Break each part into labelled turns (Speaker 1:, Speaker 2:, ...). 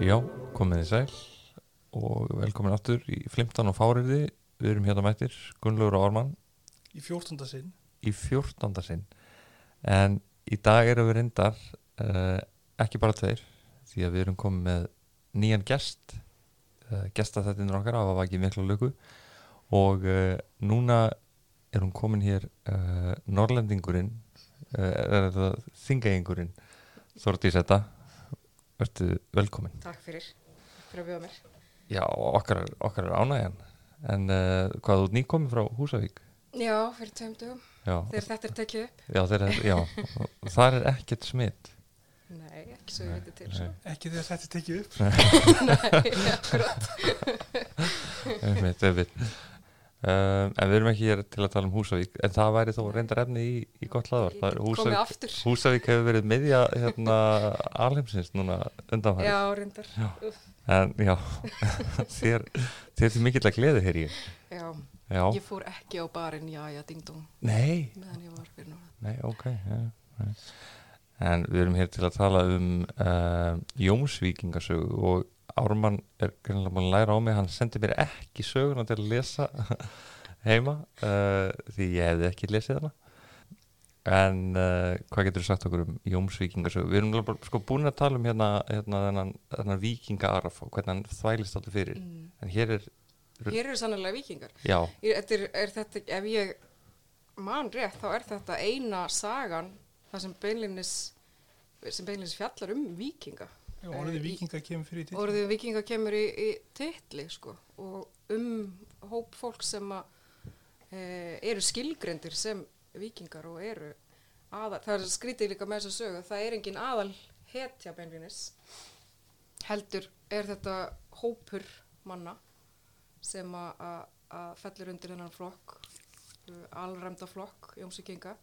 Speaker 1: Já, komið þið sæl og velkomin aftur í Flimtan og Fáriði Við erum hérna mættir, Gunnlaugur og Orman
Speaker 2: í fjórtunda sinn
Speaker 1: í 14. sinn En í dag erum við reyndar uh, ekki bara tveir því að við erum komið með nýjan gest uh, gestaþættinur okkar af að vakið mikla lögu og uh, núna er hún komin hér uh, Norrlendingurinn uh, er það Þingeyingurinn Þordís þetta Vertu velkomin
Speaker 3: Takk fyrir, Takk fyrir að bjóða mér.
Speaker 1: Já, okkar, er- okkar er ánægjan En uh, hvað þú ert nýkomið frá Húsavík
Speaker 3: Já, fyrir tveim dögum,
Speaker 1: Já,
Speaker 3: þegar þetta er tekið upp.
Speaker 1: já, þeir, já þar er ekkert smitt
Speaker 3: Nei, ekki svo ég viti til. Svo.
Speaker 1: Nei.
Speaker 2: ekki þegar þetta er tekið upp
Speaker 3: Nei, akkurat.
Speaker 1: einmitt, einmitt. Um, En við erum ekki hér til að tala um Húsavík En það væri þó reyndar efni í, í gott laðvar Það er
Speaker 3: Komið
Speaker 1: Húsavík,
Speaker 3: aftur.
Speaker 1: Húsavík hefur verið miðja hérna, alheimsins núna
Speaker 3: Já,
Speaker 1: undanfæri
Speaker 3: reyndar.
Speaker 1: En já, þér, þér til mikill að gleði hér ég
Speaker 3: Já,
Speaker 1: Já,
Speaker 3: ég fór ekki á barinn, já, já, ding-dong,
Speaker 1: nei,
Speaker 3: meðan ég var fyrir núna.
Speaker 1: Nei, ok. Ja, nei. en við erum hér til að tala um uh, Jómsvíkingasögu og Ármann er greinlega búin að læra á mig, hann sendi mér ekki söguna til að lesa heima uh, því ég hefði ekki lesið hana. En uh, hvað getur þú sagt okkur um Jómsvíkingasögu? Við erum bara, sko búin að tala um hérna, hérna þennan, þennan vikingaarf og hvernig hann þvælist áttu fyrir.
Speaker 3: Mm.
Speaker 1: En hér er,
Speaker 3: Hér eru sannlega vikingar.
Speaker 1: já,
Speaker 3: Ég, þetta er, er þetta, ef ég man rétt, þá er þetta eina sagan það sem beinlinnis, sem beinlinnis fjallar um vikinga.
Speaker 2: Já, orðið
Speaker 3: Eh, í-
Speaker 2: vikinga kemur fyrir til
Speaker 3: orðið vikinga kemur í, í titli sko, og um hóp fólk sem að, e, eru skilgrendir sem vikingar og eru aðal, það er skrítið líka með þess að sögu það er engin aðal hetja beinlinis heldur er þetta hópur manna sem að- að að fellur undir hennan flokk uh, alræmda flokk jómsvikinga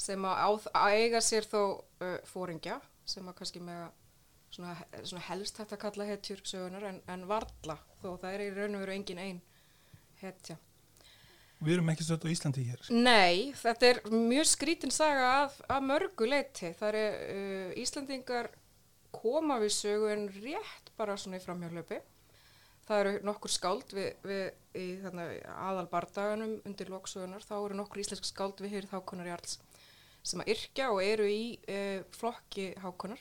Speaker 3: sem að, á, að eiga sér þó uh, fóringja sem að kannski með svona, svona helst hægt að kalla hetjur sögunar en, en varla þó það er í raun og veru engin ein hetja.
Speaker 2: við erum ekki stöðt á Íslandi hér
Speaker 3: Nei, þetta er mjög skrítin saga að, að mörgu leiti. Það er uh, Íslandingar koma við sögu en rétt bara svona í framhjálöpi. Það eru nokkur skáld við, við í þannig, aðal bardaganum undir loksugunar. Þá eru nokkur íslensk skáld við hér þákonar í alls sem að yrkja og eru í uh, flokki hákonar.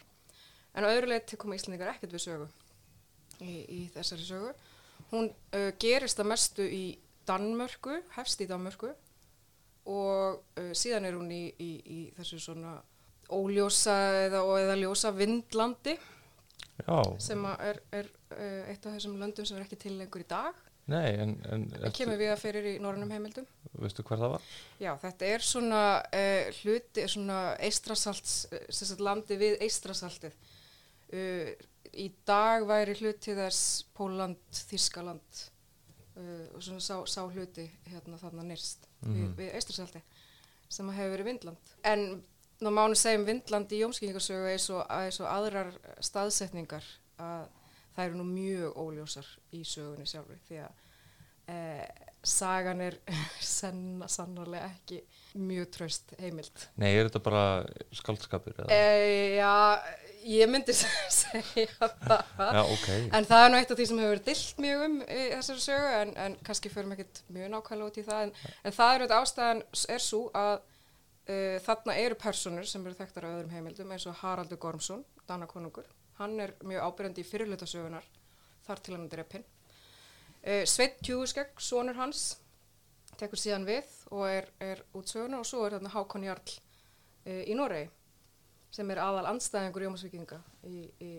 Speaker 3: En að öðru leiti koma Íslandingar ekkert við sögu í, í þessari sögu. Hún uh, gerist að mestu í Danmörku, hefst í Danmörku og uh, síðan er hún í, í, í þessu svona óljósa eða, og eða ljósa vindlandi
Speaker 1: já,
Speaker 3: sem að er, er uh, eitt af þessum löndum sem er ekki til lengur í dag.
Speaker 1: nei, en, en
Speaker 3: Það
Speaker 1: ertu-
Speaker 3: kemur við að fyrir í norrannum heimildum.
Speaker 1: veistu hver það var?
Speaker 3: Já, þetta er svona uh, hluti, svona eistrasalts, eh, sem sagt landi við eistrasaltið. Uh, í dag væri hluti þess Póland, Þískaland uh, og svona sá, sá hluti hérna þarna nyrst við,
Speaker 1: Mhm.
Speaker 3: við eistrasaltið sem að hefur verið Vindland. En ná mánu segjum um Vindland í jómskynningarsögu eins og, eins og aðrar staðsetningar að það eru nú mjög óljósar í sögunni sjálfri því að eh, sagan er senna, sannarlega ekki mjög tröst heimild.
Speaker 1: Nei, er þetta bara skaldskapur? eða?
Speaker 3: E, já, ég myndi segja það.
Speaker 1: Já, ok.
Speaker 3: En það er nú eitt af því sem hefur verið dilt mjög um í þessari sögu en, en kannski förum ekkert mjög nákvæmlega út í það en, en það er auðvitað ástæðan s- er svo að uh, þarna eru personur sem eru þekktar á öðrum heimildum eins og Haraldur Gormsson, Danakonungur. Hann er mjög ábyrjandi í fyrirluta sögunar þar til hann er dreppinn. Uh, Sveit Tjúskegg, sonur hans, tekur síðan við og er, er út söguna og svo er þarna Hákon Jarl uh, í Noregi sem er aðal anstæðingur Jómasvikinga í, í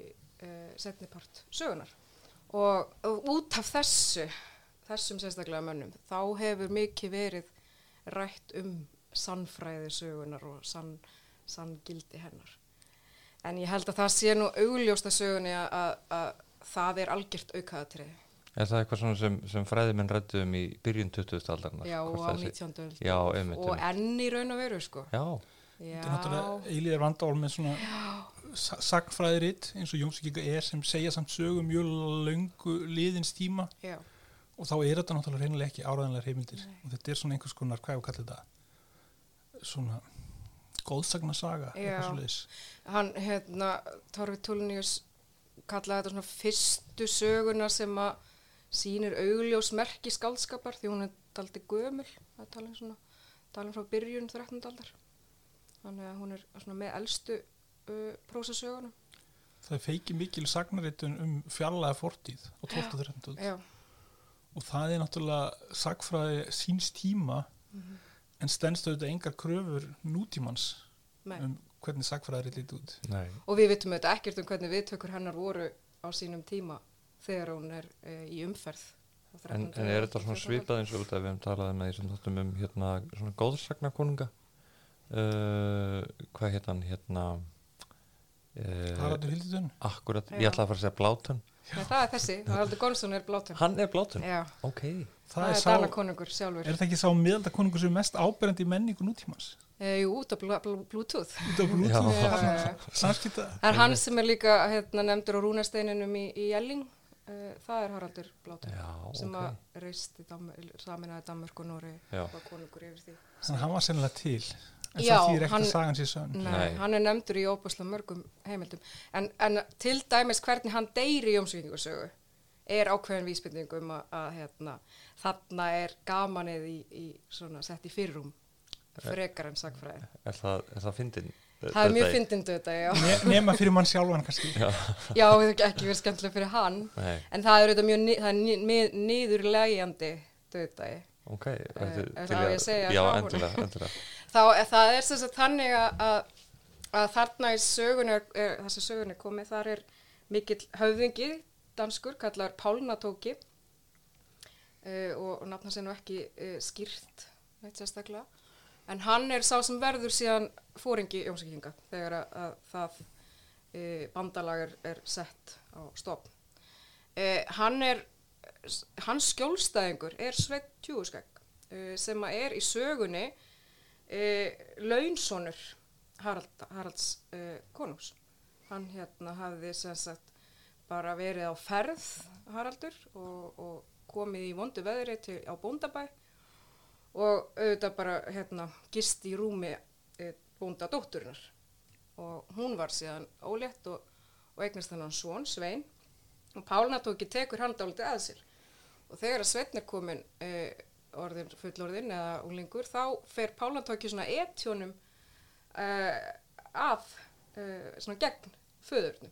Speaker 3: uh, setnipart sögunar. Og, og út af þessu, þessum sérstaklega mönnum, þá hefur mikið verið rætt um sannfræði sögunar og sann, sanngildi hennar. En ég held að það sé nú augljósta sögunni að, að, að það er algjört aukaðatriði.
Speaker 1: Er það eitthvað svona sem, sem fræðimenn rættu um í byrjun 20. aldarna?
Speaker 3: Já, og á 19. öld.
Speaker 1: Já, einmitt.
Speaker 3: Og
Speaker 1: einmitt.
Speaker 3: enn í raun og veru, sko.
Speaker 1: Já,
Speaker 3: Já,
Speaker 2: þetta er náttúrulega eilíðar vandál með svona sa- sagnfræðiritt eins og Jómsvíkinga er sem segja samt sögu mjög löngu liðins tíma
Speaker 3: já,
Speaker 2: og þá er þetta náttúrulega reynilega ekki áraðanlega heimildir og þetta er svona einhvers konar, hvað ég kalli þetta svona góðsagnasaga
Speaker 3: Já.
Speaker 2: eitthvað svoleiðis.
Speaker 3: hann hérna Torfi Tulnius kallaði þetta svona fyrstu söguna sem að sýnir augljós merki skaldskapar því hún er daldi gömul það er talin svona, talin frá byrjun 13. aldar þannig að hún er svona með elstu uh, prósasögunum
Speaker 2: það feiki mikil sagnaritun um fjarlæða fortíð á 12. og 13. öld.
Speaker 3: já,
Speaker 2: og það er náttúrulega sagfræði síns tíma
Speaker 3: Mhm.
Speaker 2: en stendst auðvitað engar kröfur nútímans
Speaker 3: með
Speaker 2: um hvernig sagfræðir lítið út
Speaker 1: Nei,
Speaker 3: og við vitum auðvitað ekkert um hvernig viðtökur hennar voru á sínum tíma þegar hún er uh, í umferð á
Speaker 1: en,
Speaker 3: 13.
Speaker 1: en er þetta
Speaker 3: og
Speaker 1: svona
Speaker 3: 14.
Speaker 1: svipað eins og þetta við hefum talað um að ég sem þáttum um hérna svona góðsagnakonunga uh, hvað hétt hann hérna uh,
Speaker 2: Haraldur Hilditun
Speaker 1: akkurat,
Speaker 3: Já.
Speaker 1: ég ætla að fara að segja blátun
Speaker 3: Nei, það er þessi, Haraldur Gónsson er blátun
Speaker 1: hann er blátun,
Speaker 3: já,
Speaker 1: ok
Speaker 3: það er
Speaker 2: sá,
Speaker 3: danakonungur sjálfur
Speaker 2: er það ekki sá miðaldakonungur sem er mest áberandi í menningu nútímans
Speaker 3: Eh, jú, út af bl bl Bluetooth
Speaker 2: út af
Speaker 1: Já.
Speaker 2: Bluetooth
Speaker 3: Já, já, já.
Speaker 2: samskipta
Speaker 3: Það er hann sem er líka hérna, nefndur á rúnasteininum í, í Jelling uh, það er Haraldur Blátur
Speaker 1: já,
Speaker 3: sem
Speaker 1: ok
Speaker 3: að reisti Dam saminaði Danmörk og Nóri
Speaker 1: Já.
Speaker 3: var konungur yfir því
Speaker 2: þannig að hann var sennilega til en
Speaker 3: Já,
Speaker 2: það þýr ekkert
Speaker 3: hann-
Speaker 2: að sagan sér sönn
Speaker 3: Nei,
Speaker 1: Nei.
Speaker 3: hann er nefndur í óbúslega mörgum heimildum en, en til dæmis hvernig hann deyri í Jómsvíkingursögu er ákveðin vísbending um að, að hérna, þarna er gamanið í, í svona, sett í fyrrum
Speaker 1: Eh.
Speaker 3: frekar en sagfræði
Speaker 1: er það, er það uh, fyndin?
Speaker 3: það
Speaker 1: eh,
Speaker 3: er mjög fyndindu þetta, já
Speaker 2: Ne- nema fyrir mann sjálfan kannski
Speaker 3: já, það er ekki verið skemmtilega fyrir hann
Speaker 1: Nei,
Speaker 3: En það er auðvitað mjög ni- það er ni- mið- niðurlægjandi döðdagi.
Speaker 1: ok ertu
Speaker 3: Eh, er
Speaker 1: til
Speaker 3: það
Speaker 1: í
Speaker 3: ég segja
Speaker 1: Já,
Speaker 3: frá honum?
Speaker 1: endilega, endilega
Speaker 3: Þá er það er sem sagt þannig að, að, að þarna í sögun er, er þessi sögun er komið, þar er mikill höfðingi danskur, kallar Pálnatóki uh, og, og nafna sér nú ekki uh, skýrt, neitt sérstaklega. En hann er sá sem verður síðan fóringi Jómsvíkinga þegar að, að það uh, bandalag er, er sett á stopn. Eh, hann er, hans skjólstæðingur er Sveit Tjúuskegg eh, sem að er í sögunni eh, launsonur Harald, Haralds eh, konungs. Hann hérna hafði sem sagt bara verið á ferð Haraldur og, og komið í vondu veðri til, á bóndabæ og auðvitað bara hérna gist í rúmi eh, bóndadótturinnar og hún var síðan ólétt og, og eignast þennan svon, Svein og Pálna tóki tekur hann dálítið að sér og þegar að Sveinn er komin e, orðin fullorðin eða unglingur þá fer Pálna tóki svona etjónum e, af e, svona gegn föðurnum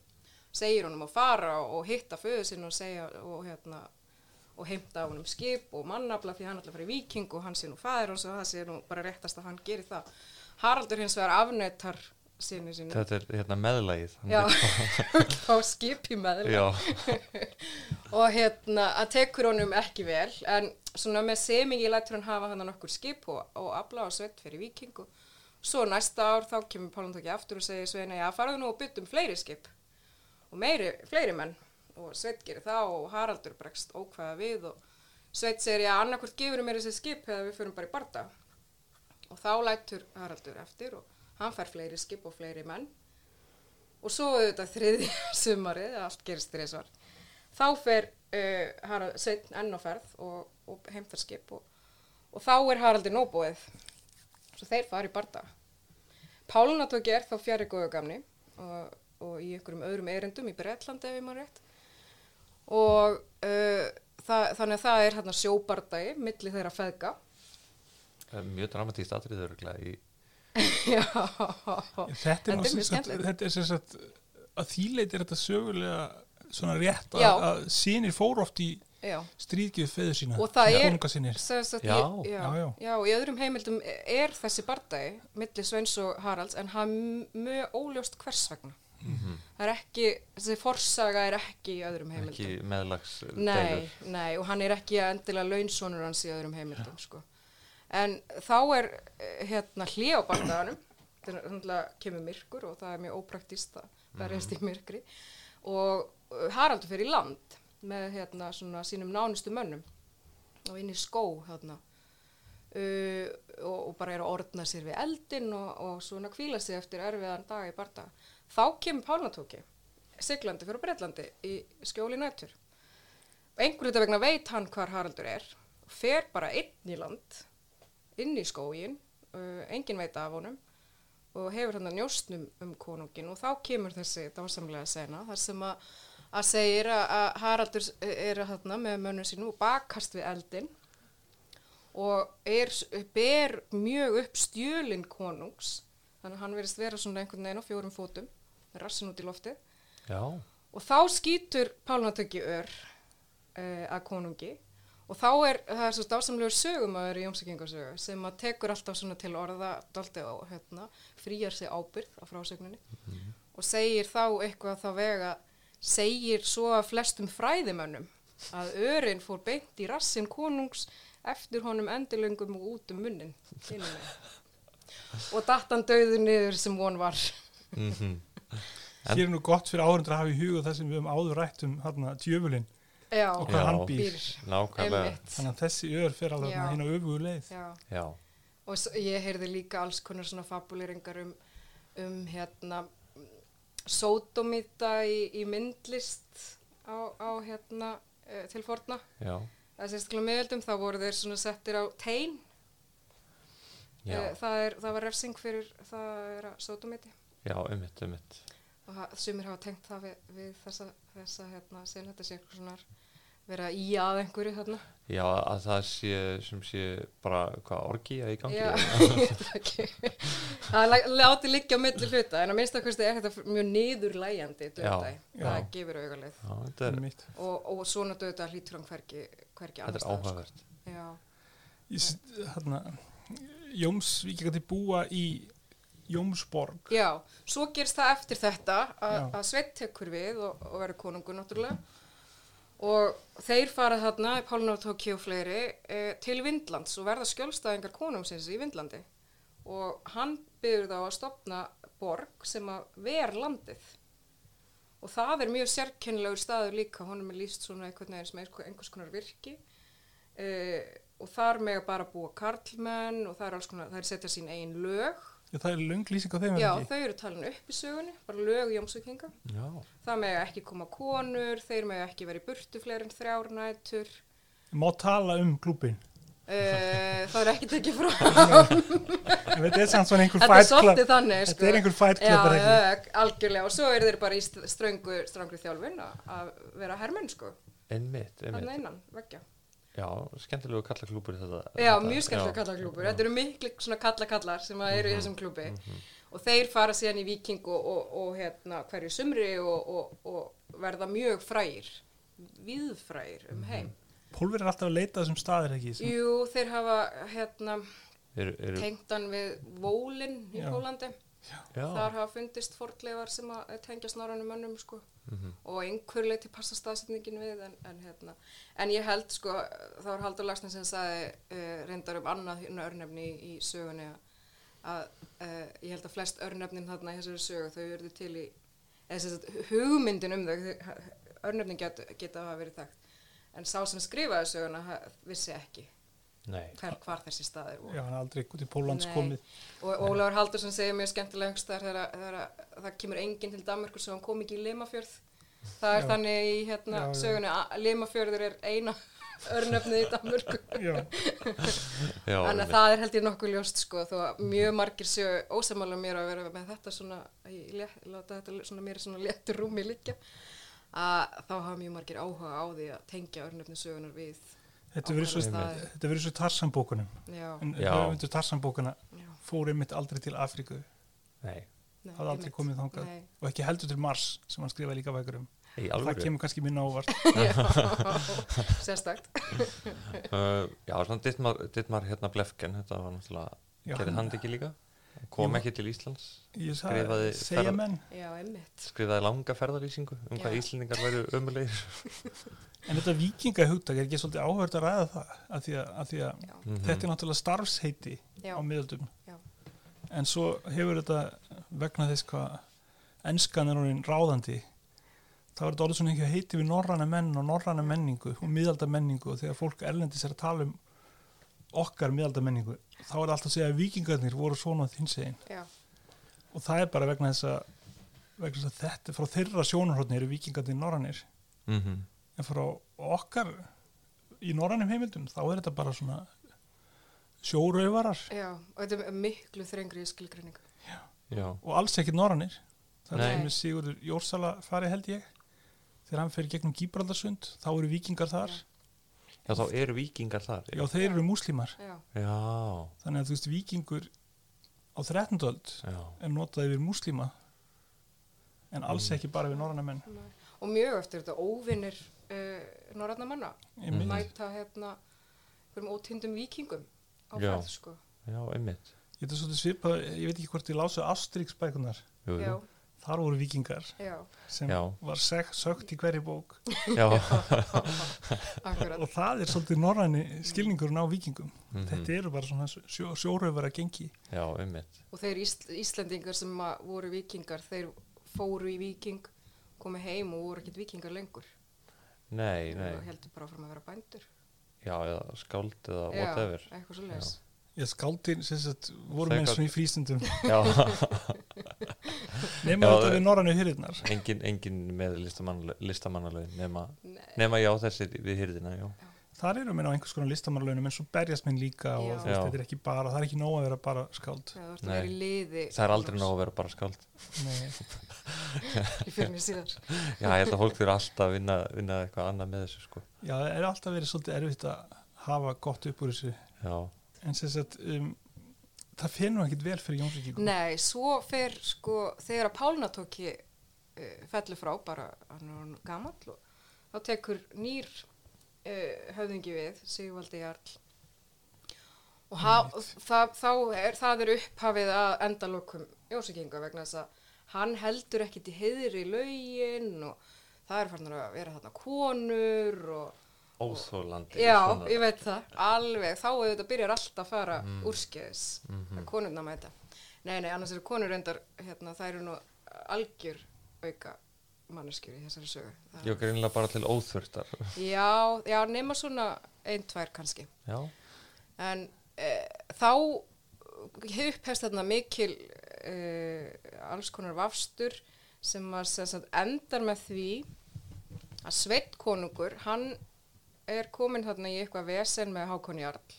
Speaker 3: segir honum að fara og hitta föður sinn og segja og hérna og heimta á honum skip og mannafla því hann ætla að fara í viking og hann sé nú fæður og það sé nú bara réttast að hann geri það Haraldur hins vegar afnættar sinni sinni
Speaker 1: Þetta er hérna meðlagið hann
Speaker 3: Já,
Speaker 1: er-
Speaker 3: á skip í meðlega
Speaker 1: Já,
Speaker 3: og hérna að tekur honum ekki vel en svona með semingi lætur hann hafa hann nokkur skip og, og afla og sveit fyrir viking og svo næsta ár þá kemur Pálum tóki aftur og segir Sveina já farðu nú og byttum fleiri skip og meiri, fleiri menn og sveit gerir það og Haraldur bregst ókvæða við og sveit segir já annarkvort gefur mér þessi skip eða við förum bara í barda og þá lætur Haraldur eftir og hann fær fleiri skip og fleiri menn og svo auðvitað þriðja sumarið, allt gerist þriðsvar þá fer uh, Harald, Sveinn enn á ferð og, og heimtarskip og, og þá er Haraldi nóbúið svo þeir fara í barda Pálnatóki er þá fjari góðu gamni og, og í einhverjum öðrum erindum í Bretlandi ef ég maður rétt og uh, það, þannig að það er hérna sjóbardagi milli þeirra feðga
Speaker 1: það er mjög dramatíst atrið örgulega í
Speaker 3: Já,
Speaker 2: þetta er,
Speaker 3: Þetta er
Speaker 2: nú
Speaker 3: mjög
Speaker 2: sem sagt-
Speaker 3: skemmtilegt.
Speaker 2: þetta er sem sagt að þýleit er þetta sögulega svona rétt að,
Speaker 3: Já.
Speaker 2: að sinir fór oft í
Speaker 3: já
Speaker 2: stríðgjöf feður sína
Speaker 3: Og það er-
Speaker 2: konungasinir
Speaker 3: Sem sagt,
Speaker 1: Já,
Speaker 3: ég- já,
Speaker 2: já,
Speaker 3: já,
Speaker 2: já.
Speaker 3: í öðrum heimildum er þessi bardagi milli Sveins og Haralds en hann er mjög óljóst hvers vegna það er ekki, þessi forsaga er ekki í öðrum heimildum
Speaker 1: ekki meðlags
Speaker 3: nei, nei, og hann er ekki endilega launsonur hans í öðrum heimildum sko. en þá er eh, hérna hlið á bardaganum þannig að kemur myrkur og það er mjög ópraktist að verðast í myrkri og eh, Haraldur fer í land með hérna svona sínum nánustu mönnum og inn í skó hérna uh, og, og bara er að ordna sér við eldin og, og svona kvíla sig eftir erfiðan dag í bardaga. Þá kemur Pálnatóki, siglandi fyrir Breitlandi í skjóli nætur. Engur þetta vegna veit hann hvar Haraldur er, fer bara einn í land, inn í skógin, uh, engin veit af honum og hefur hann að njóstnum um konungin og þá kemur þessi dásamlega sena þar sem að að segir að, að Haraldur s- er þarna með mönnum sínum og bakast við eldin og er, ber mjög upp stjölin konungs þannig að hann verðist vera svona einhvern veginn á fjórum fótum með rassin út í loftið
Speaker 1: Já,
Speaker 3: og þá skýtur pálnatöki ör uh, að konungi og þá er það er svo dásamlegur sögumæður í jómsækingasögu sem að tekur alltaf svona til orða daldi á hérna, frýjar sig ábyrð á frásögninni og segir þá eitthvað þá vega segir svo að flestum fræðimönnum að örin fór beint í rassin konungs eftir honum endilöngum og út um munnin og dattan döðu niður sem von var
Speaker 1: Mhm.
Speaker 2: Hér er nú gott fyrir áhundur að hafa í huga það sem við höfum áður rætt um hérna, djöfulinn
Speaker 3: Já,
Speaker 2: og
Speaker 1: Já.
Speaker 2: hvað hann býr.
Speaker 3: býr
Speaker 1: nákvæmlega
Speaker 3: einmitt
Speaker 2: Þannig að þessi ör fer alveg
Speaker 3: Já.
Speaker 2: hérna öfugu leið.
Speaker 3: Já.
Speaker 1: Já,
Speaker 3: og s- ég heyrði líka alls konar svona fabuleringar um, um hérna sótomita í, í myndlist á, á hérna uh, til forna
Speaker 1: já,
Speaker 3: það sérstaklega meðöldum þá voru þeir svona settir á tein
Speaker 1: já,
Speaker 3: Eh, það, er, það var refsing fyrir það er að sótomiti
Speaker 1: já, ummitt, ummitt
Speaker 3: og ha- sumir hafa tengt það við, við þessa, þessa hérna, sen þetta sé eitthvað svona vera í að einhverju þarna
Speaker 1: Já, að það sé, sem sé bara, hvað, orgía í gangi
Speaker 3: Já, ég veit það ekki. það lá- láti liggja á milli hluta en að minnst að er þetta mjög niðurlægjandi döðdæ,
Speaker 2: Já,
Speaker 3: það
Speaker 1: já.
Speaker 3: gefur augalið
Speaker 1: Já, þetta er,
Speaker 2: Einmitt.
Speaker 3: og, og svona döðdæ hlýtur hann hvergi, hvergi
Speaker 1: þetta
Speaker 3: annars
Speaker 1: er
Speaker 3: staðar,
Speaker 1: áhugavert
Speaker 3: sko. Já,
Speaker 2: Ég s- Hérna, Jómsvíkingandi búa í Jómsborg.
Speaker 3: já, svo gerst það eftir þetta
Speaker 2: Já.
Speaker 3: að að Sveit tekur við og, og verður konungur náttúrulega og þeir fara þarna, Pálnar Tóki og fleiri eh, til Vindlands og verða skjólstæðingar konungsins í Vindlandi og hann byrður þá að stopna borg sem að ver landið og það er mjög sérkennilegur staður líka honum er líst svona einhvern veginn sem einhver- einhvers konar virki uh, og þar mega bara búa karlmenn og það er alls konar, það er setja sín eigin lög
Speaker 2: Já, það er löng lýsing á þeim er
Speaker 3: já,
Speaker 2: ekki.
Speaker 3: þau eru talin upp í sögunni bara lög jómsökinga
Speaker 1: Já,
Speaker 3: það mega ekki koma konur, þeir mega ekki vera í burtu fleiri en þrjár nætur
Speaker 2: Má tala um klúbin.
Speaker 3: uh, það er ekki tekið frá
Speaker 2: En þetta er samt svona einhver
Speaker 3: þetta er
Speaker 2: fight club.
Speaker 3: svolítið þannig
Speaker 2: Þetta
Speaker 3: sko.
Speaker 2: er einhver fight club, er
Speaker 3: já,
Speaker 2: ekki?
Speaker 3: já, algjörlega og svo eru þeir bara í st- ströngu, ströngu þjálfun að- að vera hermenn sko,
Speaker 1: einmitt,
Speaker 3: þannig
Speaker 1: einmitt
Speaker 3: innan, veggja
Speaker 1: Já, skemmtilegu kallaklúpur í þetta
Speaker 3: Já,
Speaker 1: þetta-
Speaker 3: mjög skemmtilega
Speaker 1: já, Mhm,
Speaker 3: kallaklúpur. Þetta eru miklu svona kallakallar sem að eru í þessum klúpi. Og þeir fara síðan í Viking og, og, og hérna, hverju sumri og, og, og verða mjög frægir, viðfrægir
Speaker 1: Mhm,
Speaker 3: um heim.
Speaker 2: Pólver er alltaf að leita að þessum staðir ekki. Sem,
Speaker 3: Jú, þeir hafa hérna,
Speaker 1: Eru, eru,
Speaker 3: tengt hann við Vólin í
Speaker 2: Já.
Speaker 3: Pólandi.
Speaker 1: já,
Speaker 3: Þar hafa fundist fornleifar sem að tengja snorðanum mönnum sko. og einhver leiti passa staðsetningin við en, en, hérna. en ég held sko, þá er Haldur Lagsnes sem sagði uh, reyndar um annað hérna örnefni í, í sögunni að- að uh, ég held að flest örnefnin þarna í þessari sögu þau eru til í eða sem sagt, hugmyndin um þau þau- örnefnin get, geta hafa verið þekkt en sá sem skrifaði söguna ha- vissi ekki
Speaker 1: nei
Speaker 3: hver, hvar þessi staðir voru
Speaker 2: já, hann er aldrei út í Pólans
Speaker 3: Nei.
Speaker 2: komið.
Speaker 3: og Ólafur Haldursson segir mjög skemmtilega einhvers staðar þegar, að- þegar að það kemur enginn til Danmarkur sem hann kom ekki í Limafjörð það er
Speaker 2: Já.
Speaker 3: þannig í hérna,
Speaker 2: Já, já.
Speaker 3: sögunni að Limafjörður er eina örnöfnið í Danmarku
Speaker 2: Já,
Speaker 1: Já,
Speaker 3: þannig
Speaker 1: einmitt,
Speaker 3: að það er held ég nokkuð ljóst sko, þó að mjög margir séu ósamála mér að vera með þetta svona ég lét- láta þetta svona, mér svona léttur rúmi líka að þá hafa mjög margir áhuga á því að tengja örnöfnið sögunar við
Speaker 2: þetta verður svo,
Speaker 3: Ákveðna staði.
Speaker 2: þetta verður svo Tarsanbókunum.
Speaker 3: já,
Speaker 2: En
Speaker 1: Já.
Speaker 2: höfundur Tarsanbókuna
Speaker 3: já,
Speaker 2: fór einmitt aldrei til Afríku.
Speaker 1: nei
Speaker 3: nei,
Speaker 2: Hafði aldrei
Speaker 3: einmitt.
Speaker 2: komið þangað.
Speaker 3: Nei.
Speaker 2: Og ekki heldur til Mars sem hann skrifaði líka vækur um.
Speaker 1: Í
Speaker 2: Það
Speaker 1: alvöru
Speaker 2: kemur kannski minna ávart.
Speaker 3: Já, sérstakt
Speaker 1: Uh, já, svona Dittmar, Dittmar hérna Blefken, þetta var
Speaker 2: Já,
Speaker 1: náttúrulega, gerði
Speaker 2: hann-
Speaker 1: hann þetta ekki líka? Kom
Speaker 2: Jú.
Speaker 1: ekki til Íslands,
Speaker 2: Ég
Speaker 1: Skrifaði
Speaker 2: sagði, segja
Speaker 1: ferð-
Speaker 2: menn.
Speaker 3: já, einmitt
Speaker 1: skrifaði langa ferðarlýsingu um hvað
Speaker 3: Já.
Speaker 1: Íslendingar væru ömulegir.
Speaker 2: En þetta vikingahugtak er ekki svolítið áhverð að ræða það af því að, af því
Speaker 1: Mhm.
Speaker 2: að
Speaker 3: já,
Speaker 2: þetta er náttúrulega starfsheiti
Speaker 3: já.
Speaker 2: á miðaldum
Speaker 3: Já.
Speaker 2: en svo hefur þetta vegna þess hvað enskan er orðin ráðandi þá er þetta orðið svona einhver heiti við norræna menn og norræna menningu og miðalda menningu og þegar fólk erlendis er að tala um okkar miðalda menningu þá er alltaf að segja að vikingarnir voru svona þinsegin
Speaker 3: Já,
Speaker 2: og það er bara vegna þess að, vegna þess að þetta frá þeirra sjónarhóttni eru vikingarnir norrænir
Speaker 1: Mm -hmm.
Speaker 2: en frá okkar í norrænum heimildum þá er þetta bara svona sjórauvarar
Speaker 3: já, og þetta er miklu þrengri skilgreiningu.
Speaker 1: Já,
Speaker 2: og alls ekkert norrænir það er
Speaker 1: Nei.
Speaker 2: sem er Sigurður Jórsala fari held ég þegar hann fer í gegnum Gíbraldarsund þá eru vikingar þar
Speaker 1: Já, þá eru vikingar þar
Speaker 2: já, þeir eru múslimar
Speaker 3: já,
Speaker 1: já,
Speaker 2: þannig að þú veist vikingur á 13. öld
Speaker 1: já.
Speaker 2: er notað yfir múslima en alls ekki bara yfir norranna menn
Speaker 3: nei. og mjög eftir þetta óvinnir uh, norræna manna
Speaker 2: Einmitt.
Speaker 1: Mm.
Speaker 3: mæta hérna einhverjum ótindum vikingum á
Speaker 1: Já.
Speaker 3: færð sko
Speaker 1: Já, einmitt
Speaker 2: Þetta er svolítið svipað, ég veit ekki hvort ég lásu Asterix bækunar,
Speaker 1: Jú, jú.
Speaker 3: já,
Speaker 2: þar voru vikingar
Speaker 3: já,
Speaker 2: sem
Speaker 1: Já.
Speaker 2: var seg, sögt í hverju bók
Speaker 1: Já,
Speaker 3: akkurat
Speaker 2: og það er svolítið norræni skilningurinn á vikingum
Speaker 1: Mhm.
Speaker 2: þetta eru bara svona sjó, sjóröfara gengi
Speaker 1: já, einmitt
Speaker 3: og þeir Ísl Íslendingar sem að voru vikingar þeir fóru í viking komu heim og voru ekkert vikingar lengur
Speaker 1: Nei,
Speaker 3: og
Speaker 1: nei,
Speaker 3: heldur bara fram að vera bændur
Speaker 1: já, eða skáld eða whatever
Speaker 3: já, eitthvað svo leiðis
Speaker 2: Já, skáldin, sem sagt, voru
Speaker 1: Það er
Speaker 2: menn
Speaker 1: gott.
Speaker 2: svona í frístundum
Speaker 1: Já,
Speaker 2: nema
Speaker 1: Já, eh.
Speaker 2: þetta
Speaker 1: það-
Speaker 2: við norrannu hyrirnar
Speaker 1: engin, engin með listamann- listamannalaun nema,
Speaker 3: Nei.
Speaker 1: nema já, þessi við hyrðina, já
Speaker 2: þar eru menn á einhvers konar listamannalaunum en svo berjast menn líka og
Speaker 3: Já.
Speaker 2: þú veist,
Speaker 1: Já.
Speaker 2: þetta er ekki bara, það er ekki nóg að vera bara skáld
Speaker 3: Já, þú ert að vera í liði
Speaker 1: Það er aldrei nóg að vera bara skáld
Speaker 2: Nei.
Speaker 3: Ég fyrir mér síðar
Speaker 1: Já, ég held að fólk þurfa alltaf að vinna, vinna eitthvað annað með þessu, sko
Speaker 2: Já, það er alltaf verið svolítið erfitt að hafa gott upp úr þessu
Speaker 1: Já,
Speaker 2: en sem sagt, um, það finnur ekkit vel fyrir Jónsvíkingum
Speaker 3: Nei, svo fer sko þegar að Pálna tóki uh, fellur frá bara, hann er hann gamall og þá tekur nýr uh, höfðingi við, Sigvaldi Jarl og ha, það, þá er, það er upphafið að endalokum Jósíkinga vegna þess að hann heldur ekkit í heiðri lögin og það er farnar að vera þarna konur og
Speaker 1: óþólandi
Speaker 3: Já, ég veit það, alveg, þá auðvitað byrjar allt að fara úrskeiðis að konurna mæta. Nei, nei, annars eru konur reyndar, hérna, það eru nú algjör auka manneskjur í þessari sögu. Það-
Speaker 1: Ég greinlega bara til óþurftar
Speaker 3: Já, já, nema svona ein, tvær kannski.
Speaker 1: Já,
Speaker 3: En e, þá upphefst þarna mikil e, alls konar vafstur sem að sem sagt, endar með því að Sveit konungur, hann er komin þarna í eitthvað vesen með Hákon Jarl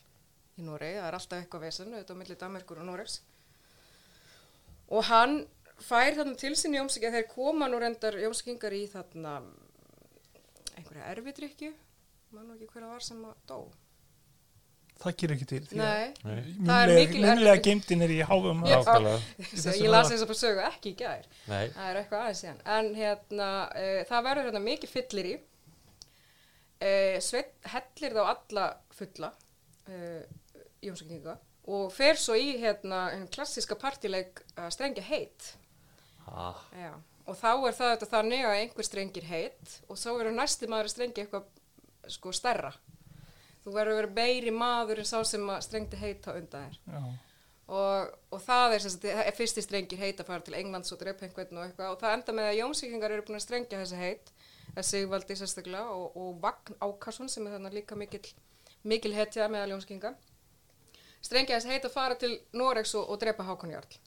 Speaker 3: í Noregi, það er alltaf eitthvað vesen, auðvitað á milli Damerkur og Noregs. Og hann fær þarna til sinni jómsækja, þeir koma nú reyndar jómsækingar í þarna einhverja erfidrykju, mann og ekki hverja var sem að dó.
Speaker 2: það gerir ekki til því að
Speaker 3: Nei,
Speaker 1: nei,
Speaker 3: Það er mikil-
Speaker 2: munlega geimtin er í háfum
Speaker 3: Já.
Speaker 1: nákvæmlega
Speaker 2: þessu
Speaker 3: ég las
Speaker 2: var-
Speaker 3: eins og bara sögu ekki í gær.
Speaker 1: Nei,
Speaker 3: Það er eitthvað aðeins síðan. En hérna, uh, það verður hérna mikið fyllir í. Uh, Sveit hellir þá alla fulla uh, jómsökninga og fer svo í hérna hinn klassíska partileik að strengja heit.
Speaker 1: ah,
Speaker 3: Já. Og þá er það þetta þannig að einhver strengir heit og þá verður næsti maður að strengja eitthvað sko stærra. Þú verður að vera meiri maður en sá sem að strengdi heita undan þér
Speaker 2: Já.
Speaker 3: og, og það er, sem sagt, það er fyrsti strengir heit að fara til Englands og drepa einhvern og eitthvað og það enda með að jómsvíkingar eru búin að strengja þessi heit að Sigvaldi sérstaklega og, og Vagn Ákarsson sem er þannig líka mikil, mikil hetja meðal jómsvíkinga strengja þessi heit að fara til Noregs og, og drepa Hákon Jarl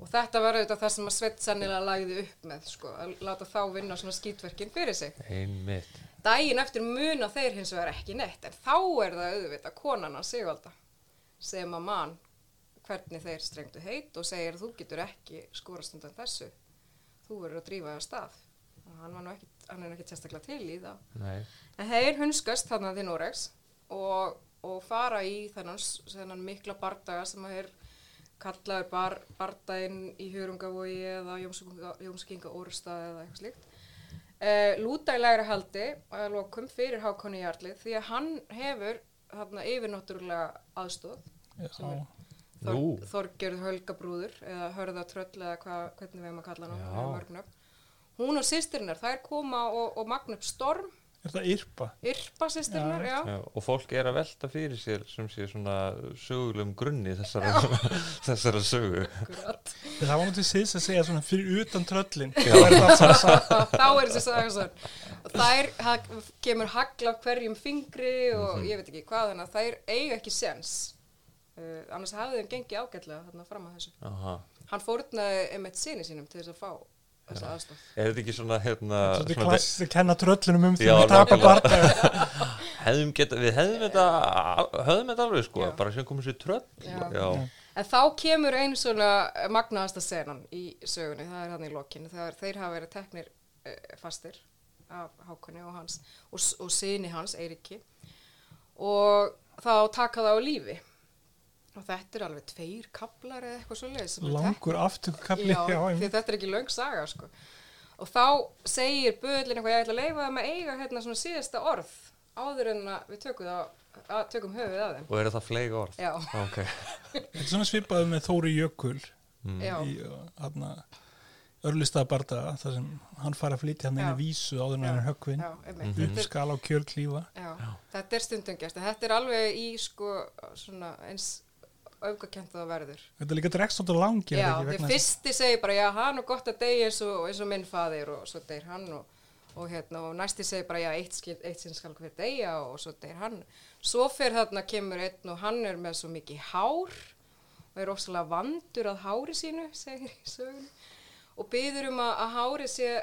Speaker 3: og þetta var auðvitað það sem að Sveit sennilega lagði upp með sko, að láta þá vinna svona skítverkin fyrir sig
Speaker 1: einmitt
Speaker 3: Dægin eftir muna þeir hins vegar ekki neitt en þá er það auðvitað konan hans Sigvalda sem að mann hvernig þeir strengtu heit og segir þú getur ekki skorast undan þessu þú verður að drífa það stað og hann, var nú ekki, hann er ekki sérstaklega til í það
Speaker 1: Nei,
Speaker 3: en þeir hunskast þannig til Noregs og, og fara í þennan, s- þennan mikla bardaga sem að er kallaður bar, bardaginn í Hjörungavogi eða Jómskinga Orsta eða eitthvað slíkt uh, lúta í lægra haldi að lokum fyrir Hákoni Jarlið því að hann hefur þarna yfirnáttúrulega aðstóð
Speaker 2: Já.
Speaker 1: Nú.
Speaker 3: Þor, Þorgjörð Hölgabrúður eða Hörða Tröll eða hva, hvernig við erum að kalla
Speaker 1: Já.
Speaker 3: hann hún og sýstirinnar, þær koma og, og magna upp storm
Speaker 2: er það yrpa
Speaker 3: Yrpa sýstirnar, já.
Speaker 1: Já, og fólk er að velta fyrir sér sem sé svona sögulegum grunni þessara, þessara sögu
Speaker 3: Akkurat.
Speaker 2: En það var nú til síðs að segja svona fyrir utan tröllin
Speaker 1: Já.
Speaker 2: það er það svona satt
Speaker 3: Þá er þessi saga svona. Og Þær hag, kemur hagla af hverjum fingri og ég veit ekki hvað, þannig að þær eiga ekki sens. Uh, annars hafði þeim gengið ágætlega þarna fram að þessu.
Speaker 1: Aha.
Speaker 3: Hann fórnaði einmitt sinni sínum til þess að fá þessa aðstof.
Speaker 1: er þetta ekki svona, hérna,
Speaker 2: Svolítið
Speaker 1: svona
Speaker 2: klassist að kenna tröllinum um því
Speaker 1: Já,
Speaker 2: að tapa
Speaker 1: nákvæmlega.
Speaker 2: bardaga
Speaker 1: hefðum geta, við hefðum þetta al- höfðum þetta alveg sko,
Speaker 3: Já.
Speaker 1: bara sem komum sér tröll
Speaker 3: Já.
Speaker 1: Já.
Speaker 3: En þá kemur einu svona eh, magnaðasta senan í sögunni, það er hann í lokinu, þegar þeir hafa verið teknir uh, fastir af Hákoni og hans og, s- og sinni hans, Eiriki og þá taka það á lífi og þetta er alveg tveir kaplar eða eitthvað svoleiðis sem eru teknir.
Speaker 2: langur aftökkukafli
Speaker 3: já,
Speaker 2: já,
Speaker 3: því
Speaker 2: einmitt.
Speaker 3: þetta er ekki löng saga sko. og þá segir böðlinn eitthvað, ég ætla að leifa þeim að eiga hérna svona síðasta orð áður en að við tökum, það, að, tökum höfuð að þeim
Speaker 1: Og eru það fleig orð?
Speaker 3: já,
Speaker 1: Ok.
Speaker 2: þetta er svona svipaðu með Þóri Jökul
Speaker 3: já,
Speaker 2: í hann örlistaða bardaga þar sem hann fari að flytja hann inn
Speaker 3: Já.
Speaker 2: í vísu áður en
Speaker 3: Já.
Speaker 2: hann er höggvinn
Speaker 3: já,
Speaker 1: Mhm.
Speaker 2: upp
Speaker 3: einmitt. Þetta er-
Speaker 2: skal á kjörklífa
Speaker 3: já, þetta er stundum gert en þetta er alveg í sko svona eins öfgakent og það verður
Speaker 2: þetta er líka dregst út á langi
Speaker 3: já,
Speaker 2: er það ekki,
Speaker 3: því
Speaker 2: vegna þess-
Speaker 3: fyrsti segir bara, já, hann og gott að deyja eins og, eins og minn faðir og svo deyr hann og, og hérna, og næsti segir bara, já, eitt, skil, eitt sinn skal hver deyja og svo deyr hann. Svo fyrir þarna kemur einn og hann er með svo mikið hár og er óslega vandur að hári sínu, segir í sögunni, og byður um að, að hári sé,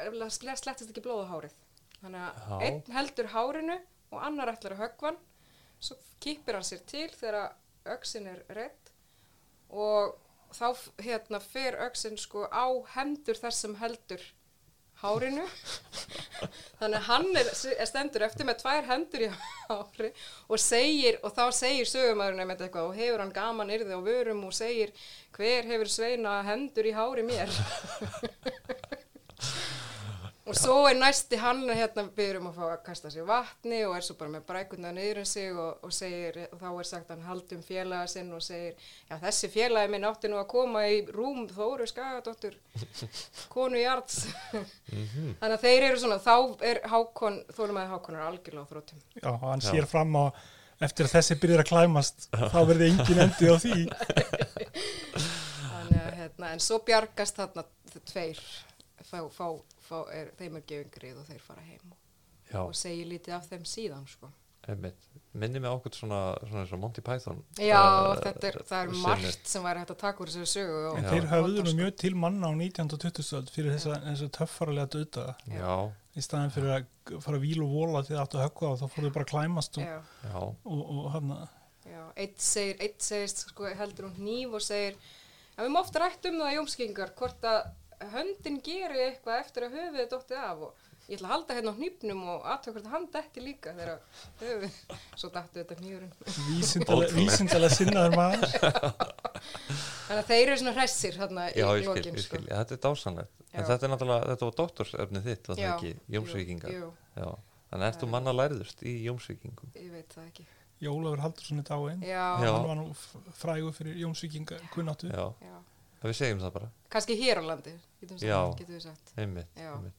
Speaker 3: eða sle- slettist ekki blóð á hárið. Þannig
Speaker 1: Já.
Speaker 3: að einn heldur hárinu og annar ætlar að höggva hann, svo kýpir hann sér til þegar öksin er reitt og þá f- hérna fer öxin sko á hendur þar sem heldur hárinu þannig að hann er, er stendur eftir með tvær hendur í hári og segir, og þá segir sögumæðurinn einmitt eitthvað og hefur hann gaman yrði á vörum og segir hver hefur sveina hendur í hári mér og svo er næsti hann hérna byrjum um að fá að kasta sér vatni og er svo bara með brækuna niður um sig og, og segir, og þá er sagt hann haldum félaga sinn og segir, já þessi félagi minn átti nú að koma í rúm Þóru Skagadóttur konu Jarts þannig að þeir eru svona, þá er Hákon Þórumaði Hákon er algjörlega á þróttum
Speaker 2: já, og hann
Speaker 1: Já.
Speaker 2: sér fram á eftir að þessi byrjar að klæmast þá verði engin endi á því
Speaker 3: þannig að hérna, en svo bjargast þarna þ- tveir fá, fá, fá er, þeim er gefingrið og þeir fara heim
Speaker 1: Já,
Speaker 3: og segir lítið af þeim síðan sko
Speaker 1: einmitt. Minni mig okkur svona, svona eins og Monty Python.
Speaker 3: Já,
Speaker 1: eh,
Speaker 3: þetta er, það er
Speaker 1: sinni.
Speaker 3: margt sem væri hægt að taka úr þessu sögu og,
Speaker 2: en
Speaker 1: Já.
Speaker 2: þeir höfðu nú
Speaker 3: og-
Speaker 2: mjög til manna á 19. og 20. öld fyrir þessa, þessa töffaralega döta
Speaker 1: Já,
Speaker 2: í staðan fyrir að g- fara víl og vola því það áttu að höggva á þá fór þau bara að klæmast og,
Speaker 3: Já,
Speaker 1: já,
Speaker 2: og, og hann
Speaker 3: já, eitt segir, eitt segist sko, heldur hún hníf og segir að við má oft rætt um það jómskingar hvort að höndin gerir eitthvað eftir að höfuðið dottið af og ég ætla að halda hérna á hnýpnum og aðtöð hvort að hann detti líka þegar að höfuð svo dattu þetta hnífurinn
Speaker 1: Ótrúlegt.
Speaker 2: vísindalega sinnaður maður
Speaker 3: þannig að þeir eru svona hressir hérna í
Speaker 1: já, ég skil,
Speaker 3: lokin
Speaker 1: ég
Speaker 3: sko.
Speaker 1: skil. Þetta er dásanlegt. En
Speaker 3: Já.
Speaker 1: þetta er náttúrulega, þetta var doktorsöfnið þitt, var það
Speaker 3: Já,
Speaker 1: ekki, Jómsvíkingar.
Speaker 3: jú, jú,
Speaker 1: Já, þannig ert þú manna læriðust í Jómsvíkingum.
Speaker 3: ég veit það ekki
Speaker 2: Jólafur Haldursson er dáinn
Speaker 1: Já.
Speaker 3: já,
Speaker 2: hann var nú f- frægur fyrir Jónsvíkinga kunnáttu
Speaker 1: Já,
Speaker 3: já.
Speaker 1: en við segjum það bara,
Speaker 3: kannski hér á landi getum,
Speaker 1: Já.
Speaker 3: sagt, getum við sagt
Speaker 1: einmitt.
Speaker 3: Já.
Speaker 1: einmitt.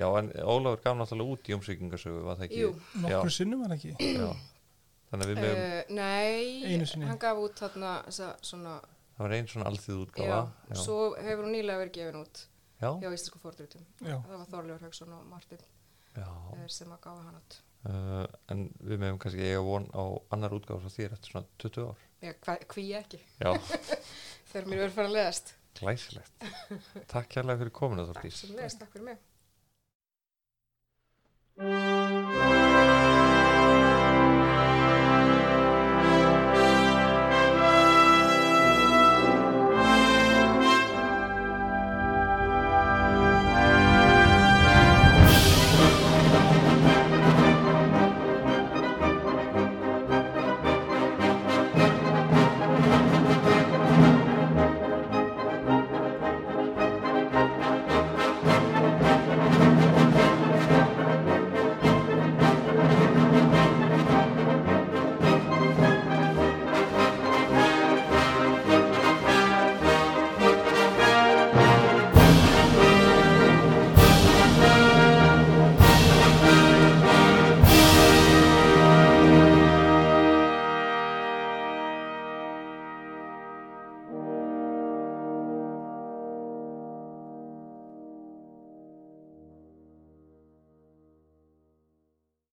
Speaker 1: Já, en Ólafur gaf náttúrulega út Jómsvíkingasögu, var það ekki?
Speaker 3: Jú.
Speaker 2: nokkur sinnum var ekki
Speaker 1: Já, já. Þannig að við mögum,
Speaker 3: Uh, nei,
Speaker 2: Einu sinni.
Speaker 3: hann gaf út þarna þessa svona
Speaker 1: það var einn svona allþýð útgáfa.
Speaker 3: Já, svo hefur hún nýlega verið gefin út
Speaker 1: já,
Speaker 3: hjá Íslensku fórdritum.
Speaker 2: já,
Speaker 3: Það var Þorleifur Haugsson og Martin
Speaker 1: já.
Speaker 3: er, sem að gáða hann út.
Speaker 1: Uh, en við meðum kannski eiga von á annar útgáð frá þér eftir svona 20 ár
Speaker 3: Ég, hva, hví ekki,
Speaker 1: Já,
Speaker 3: þegar mér verið farin að leðast.
Speaker 1: glæsilegt Takk kærlega fyrir komuna
Speaker 3: Takk
Speaker 1: Þortís
Speaker 3: sem leðast, takk fyrir mig.
Speaker 4: Thank you.